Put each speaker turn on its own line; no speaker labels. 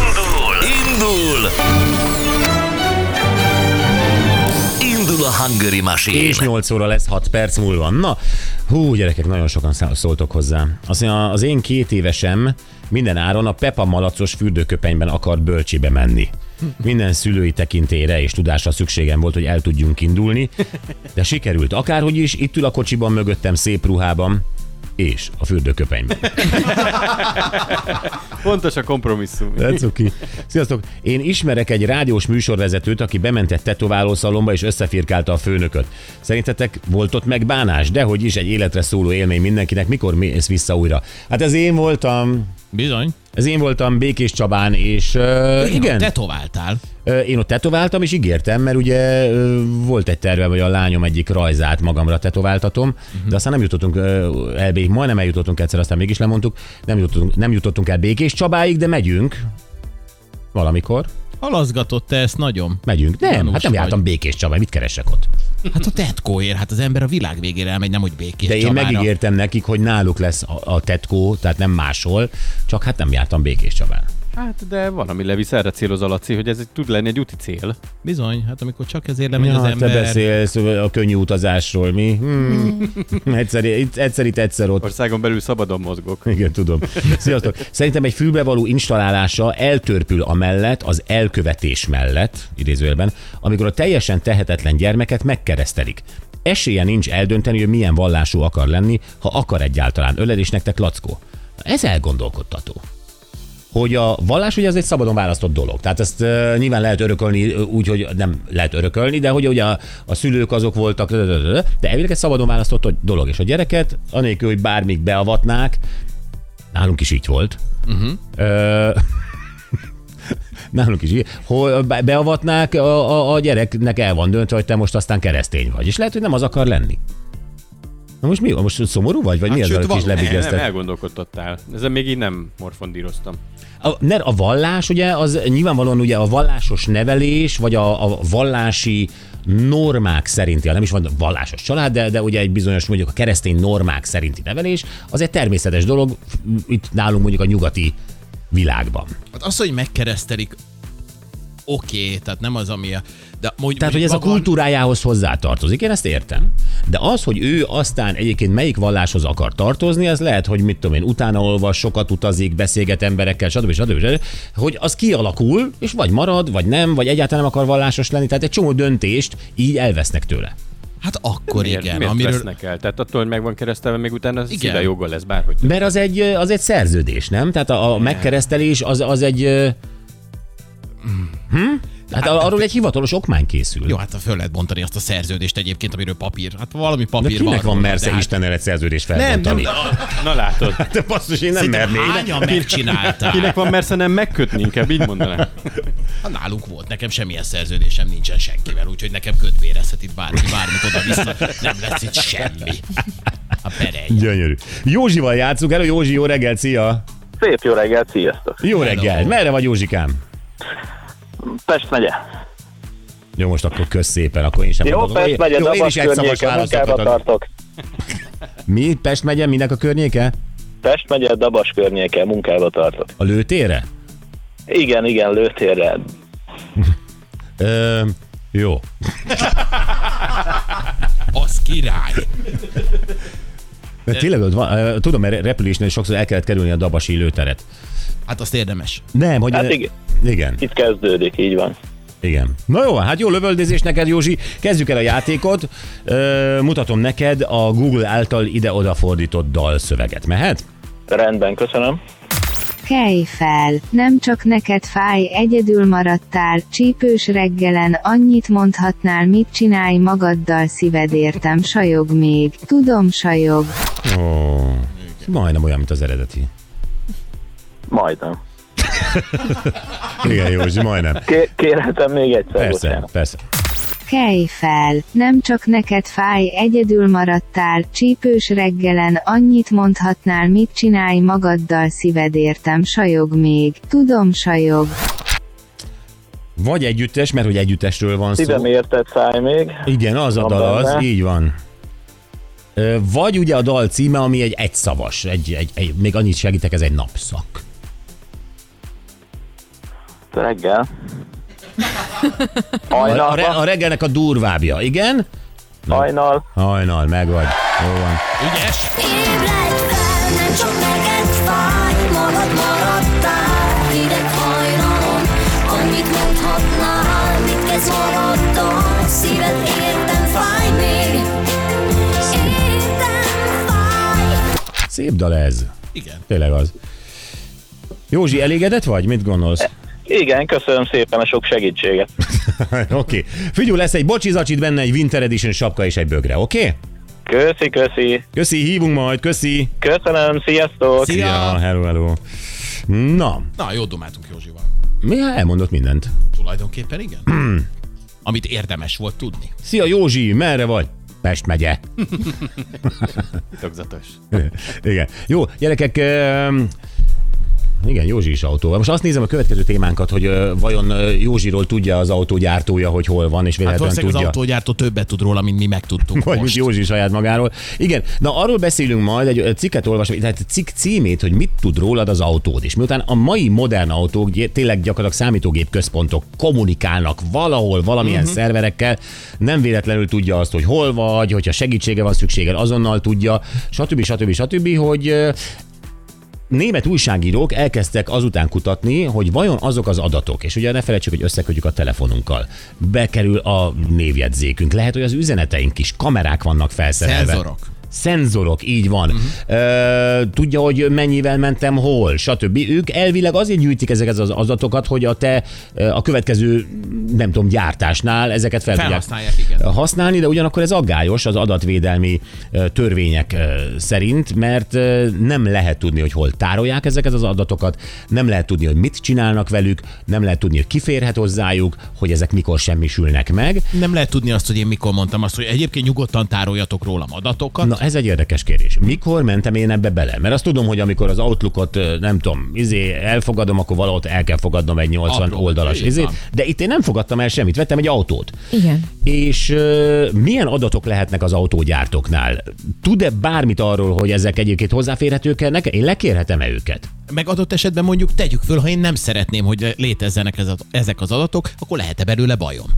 Indul! Indul! Indul a Hungary Machine!
És 8 óra lesz 6 perc múlva. Na, hú, gyerekek, nagyon sokan szá- szóltok hozzá. Azt mondja, az én két évesem minden áron a Pepa malacos fürdőköpenyben akart bölcsibe menni. Minden szülői tekintére és tudásra szükségem volt, hogy el tudjunk indulni, de sikerült. Akárhogy is, itt ül a kocsiban mögöttem szép ruhában, és a fürdőköpenyben.
Pontos a kompromisszum.
De cuki. Sziasztok! Én ismerek egy rádiós műsorvezetőt, aki bement egy tetoválószalomba és összefirkálta a főnököt. Szerintetek volt ott megbánás? Dehogy is egy életre szóló élmény mindenkinek. Mikor mész vissza újra? Hát ez én voltam.
Bizony.
Ez én voltam Békés Csabán, és uh, igen,
Tetováltál.
Ö, én ott tetováltam, és ígértem, mert ugye ö, volt egy terve, hogy a lányom egyik rajzát magamra tetováltatom,
Mhm.
uh-huh. de aztán nem jutottunk ö, el, Bé- majdnem eljutottunk egyszer, aztán mégis lemondtuk, nem jutottunk, nem jutottunk el Békés Csabáig, de megyünk. Valamikor.
Halaszgatott te ezt nagyon.
Megyünk. Nem,
Gyanús
hát nem
vagy.
jártam Békés Csabáig, mit keresek ott?
Hát a tetkóért, hát az ember a világ végére elmegy, nem hogy békés
De én
Csabára.
megígértem nekik, hogy náluk lesz a, a tetkó, tehát nem máshol, csak hát nem jártam Békés Csabán.
Hát, de van, ami levisz erre céloz a Laci, hogy ez egy, tud lenni egy úti cél.
Bizony, hát amikor csak ezért lemegy
Ja, hát
az ember.
Te beszélsz a könnyű utazásról, mi? Hmm. egyszer, itt, egyszer itt, egyszer ott.
Országon belül szabadon mozgok.
Igen, tudom. Sziasztok. Szerintem egy fülbe való installálása eltörpül amellett, az elkövetés mellett, idézőjelben, amikor a teljesen tehetetlen gyermeket megkeresztelik. Esélye nincs eldönteni, hogy milyen vallású akar lenni, ha akar egyáltalán. Ölel is nektek, Lackó. Na, Ez elgondolkodtató. Hogy a vallás ugye ez egy szabadon választott dolog. Tehát ezt uh, nyilván lehet örökölni ö, úgy, hogy nem lehet örökölni, de hogy ugye a, a szülők azok voltak, ö, ö, ö, ö, de elvileg egy szabadon választott dolog. És a gyereket, anélkül, hogy bármik beavatnák, Nálunk is így volt. Uh-huh. Ö... Nálunk is így. Hol be- beavatnák, a, a, a gyereknek el van döntve, hogy te most aztán keresztény vagy. És lehet, hogy nem az akar lenni. Na most mi? van? Most szomorú vagy? Vagy hát mi az,
sőt,
amit
van-
is
nem,
Nem, nem,
lebigyeztet?
elgondolkodtattál. Ezen még így nem morfondíroztam.
A, ne, a vallás, ugye, az nyilvánvalóan ugye a vallásos nevelés, vagy a, a vallási normák szerinti, nem is van vallásos család, de, de ugye egy bizonyos mondjuk a keresztény normák szerinti nevelés, az egy természetes dolog f- itt nálunk mondjuk a nyugati világban.
Hát az, hogy megkeresztelik, oké, okay, tehát nem az, ami a... De mondj,
Tehát, hogy ez a kultúrájához hozzátartozik, én ezt értem. De az, hogy ő aztán egyébként melyik valláshoz akar tartozni, ez lehet, hogy mit tudom én, utána olvas, sokat utazik, beszélget emberekkel, stb. stb. stb. Hogy az kialakul, és vagy marad, vagy nem, vagy egyáltalán nem akar vallásos lenni. Tehát egy csomó döntést így elvesznek tőle.
Hát akkor
Miért,
igen,
miért
amiről...
vesznek el? Tehát attól, hogy meg van keresztelve, még utána az
Igen.
szíve joga lesz bárhogy.
Mert az egy, az egy szerződés, nem? Tehát a, a megkeresztelés az, az egy... ö, Hm? Hát arról egy hivatalos okmány készül.
Jó, hát föl lehet bontani azt a szerződést egyébként, amiről papír. Hát valami
De
papír
kinek van
róla,
mersze
de hát-
Istennel egy szerződést felbontani?
nem,
Na látod.
de basszus, én nem
Szerintem
merném.
hányan megcsinálták?
Kinek van mersze nem megkötni, inkább így mondanám.
Hát nálunk volt, nekem semmilyen szerződésem nincsen senkivel, úgyhogy nekem kötbérezhet itt bárki, bármit oda-vissza, nem lesz itt semmi. Hát A perej.
Gyönyörű. Józsival játszunk elő. Józsi, jó reggel, szia!
Szép jó reggelt, sziasztok!
Jó reggel. Merre vagy, Józsikám?
Pest megye.
Jó, most akkor kösz szépen, akkor én sem
Jó,
mondom.
Pest megye,
jó, én
Dabas
is egyszavas
környéke,
válaszokat
munkába
adok.
tartok.
Mi? Pest megye? Minek a környéke?
Pest megye, Dabas környéke, munkába tartok.
A lőtére?
Igen, igen, lőtérre.
Ö, jó.
Az király.
Mert tényleg ott van, ö, tudom, mert repülésnél sokszor el kellett kerülni a dabasi lőteret.
Hát azt érdemes.
Nem, hogy...
Hát igen.
Igen,
Itt kezdődik, így van.
igen. Na jó, hát jó lövöldözés neked, Józsi. Kezdjük el a játékot. Ö, mutatom neked a Google által ide-oda fordított dalszöveget. Mehet?
Rendben, köszönöm.
Kelj fel, nem csak neked fáj, egyedül maradtál, csípős reggelen, annyit mondhatnál, mit csinálj magaddal szíved értem, sajog még, tudom sajog.
Ó, majdnem olyan, mint az eredeti.
Majdnem.
Igen, Józsi, majdnem.
Ké- kérhetem még egyszer,
Persze,
bocsánat.
persze.
Kelj fel, nem csak neked fáj, egyedül maradtál, csípős reggelen, annyit mondhatnál, mit csinálj magaddal szíved értem, sajog még, tudom sajog.
Vagy együttes, mert hogy együttesről van szó.
Szívem érted, fáj még. Hát
Igen, az a
Van
dal az,
benne.
így van. Ö, Vagy ugye a dal címe, ami egy egyszavas, egy, egy, egy, még annyit segítek, ez egy napszak.
reggel.
A, a, re,
Hajnalba,
a reggelnek a durvábbja, igen?
hajnal,
Hajnal, meg vagy. Jó van.
Ügyes?
Ébredj fel, nem csak neked fáj, magad maradtál hideg hajnalon. Annyit mondhatnál, mit kezd maraddal, szíved értem fáj még. Értem fáj.
Szép dal ez.
Igen.
Tényleg az. Józsi, elégedett vagy? Mit gondolsz?
Igen, köszönöm szépen a sok segítséget. E-
oké. Okay. Figyú, lesz egy bocsizacsit benne, egy Winter Edition sapka és egy bögre, oké? Okay?
Köszi, köszi.
Köszi, hívunk majd, köszi.
Köszönöm, sziasztok.
Szia.
Ja, hello, hello. Na,
Na, jó domáltunk Józsival.
mi elmondott mindent.
Tulajdonképpen igen.
Hmm.
Amit érdemes volt tudni.
Szia Józsi, merre vagy? Pest megye.
Titokzatos.
Igen. Jó, gyerekek, öm, igen, Józsi is autóval. Most azt nézem a következő témánkat, hogy ö, vajon ö, Józsiról tudja az autógyártója, hogy hol van, és
Hát
véletlenül
valószínűleg az
tudja.
autógyártó többet tud róla, mint mi megtudtunk
Vagy mint
most.
Józsi saját magáról. Igen, na arról beszélünk majd, egy ö, cikket olvasom, tehát egy cikk címét, hogy mit tud rólad az autód. És miután a mai modern autók gy- tényleg gyakorlatilag számítógép központok kommunikálnak valahol, valamilyen uh-huh. szerverekkel, nem véletlenül tudja azt, hogy hol vagy, hogyha segítsége van szüksége, azonnal tudja, stb. stb. stb., hogy ö, német újságírók elkezdtek azután kutatni, hogy vajon azok az adatok, és ugye ne felejtsük, hogy összekötjük a telefonunkkal, bekerül a névjegyzékünk, lehet, hogy az üzeneteink is, kamerák vannak felszerelve.
Szenzorok. Mhm.
Szenzorok, így van. Uh-huh. Ö, tudja, hogy mennyivel mentem hol, stb. Ők elvileg azért gyűjtik ezeket az adatokat, hogy a te ö, a következő, nem tudom, gyártásnál ezeket fel tudják
Felhasználják, igen.
használni, de ugyanakkor ez aggályos az adatvédelmi ö, törvények ö, szerint, mert ö, nem lehet tudni, hogy hol tárolják ezeket az adatokat, nem lehet tudni, hogy mit csinálnak velük, nem lehet tudni, hogy kiférhet hozzájuk, hogy ezek mikor semmisülnek meg.
Nem lehet tudni azt, hogy én mikor mondtam azt, hogy egyébként nyugodtan tároljatok rólam adatokat.
Na, ez egy érdekes kérdés. Mikor mentem én ebbe bele? Mert azt tudom, hogy amikor az Outlookot, ö, nem tudom, izé elfogadom, akkor valahol el kell fogadnom egy 80
Apró,
oldalas
így
izét,
van.
de itt én nem fogadtam el semmit, vettem egy autót.
Igen.
És ö, milyen adatok lehetnek az autógyártóknál? Tud-e bármit arról, hogy ezek egyébként hozzáférhetők-e nekem? Én lekérhetem-e őket?
Meg adott esetben mondjuk tegyük föl, ha én nem szeretném, hogy létezzenek ez a, ezek az adatok, akkor lehet-e belőle bajom?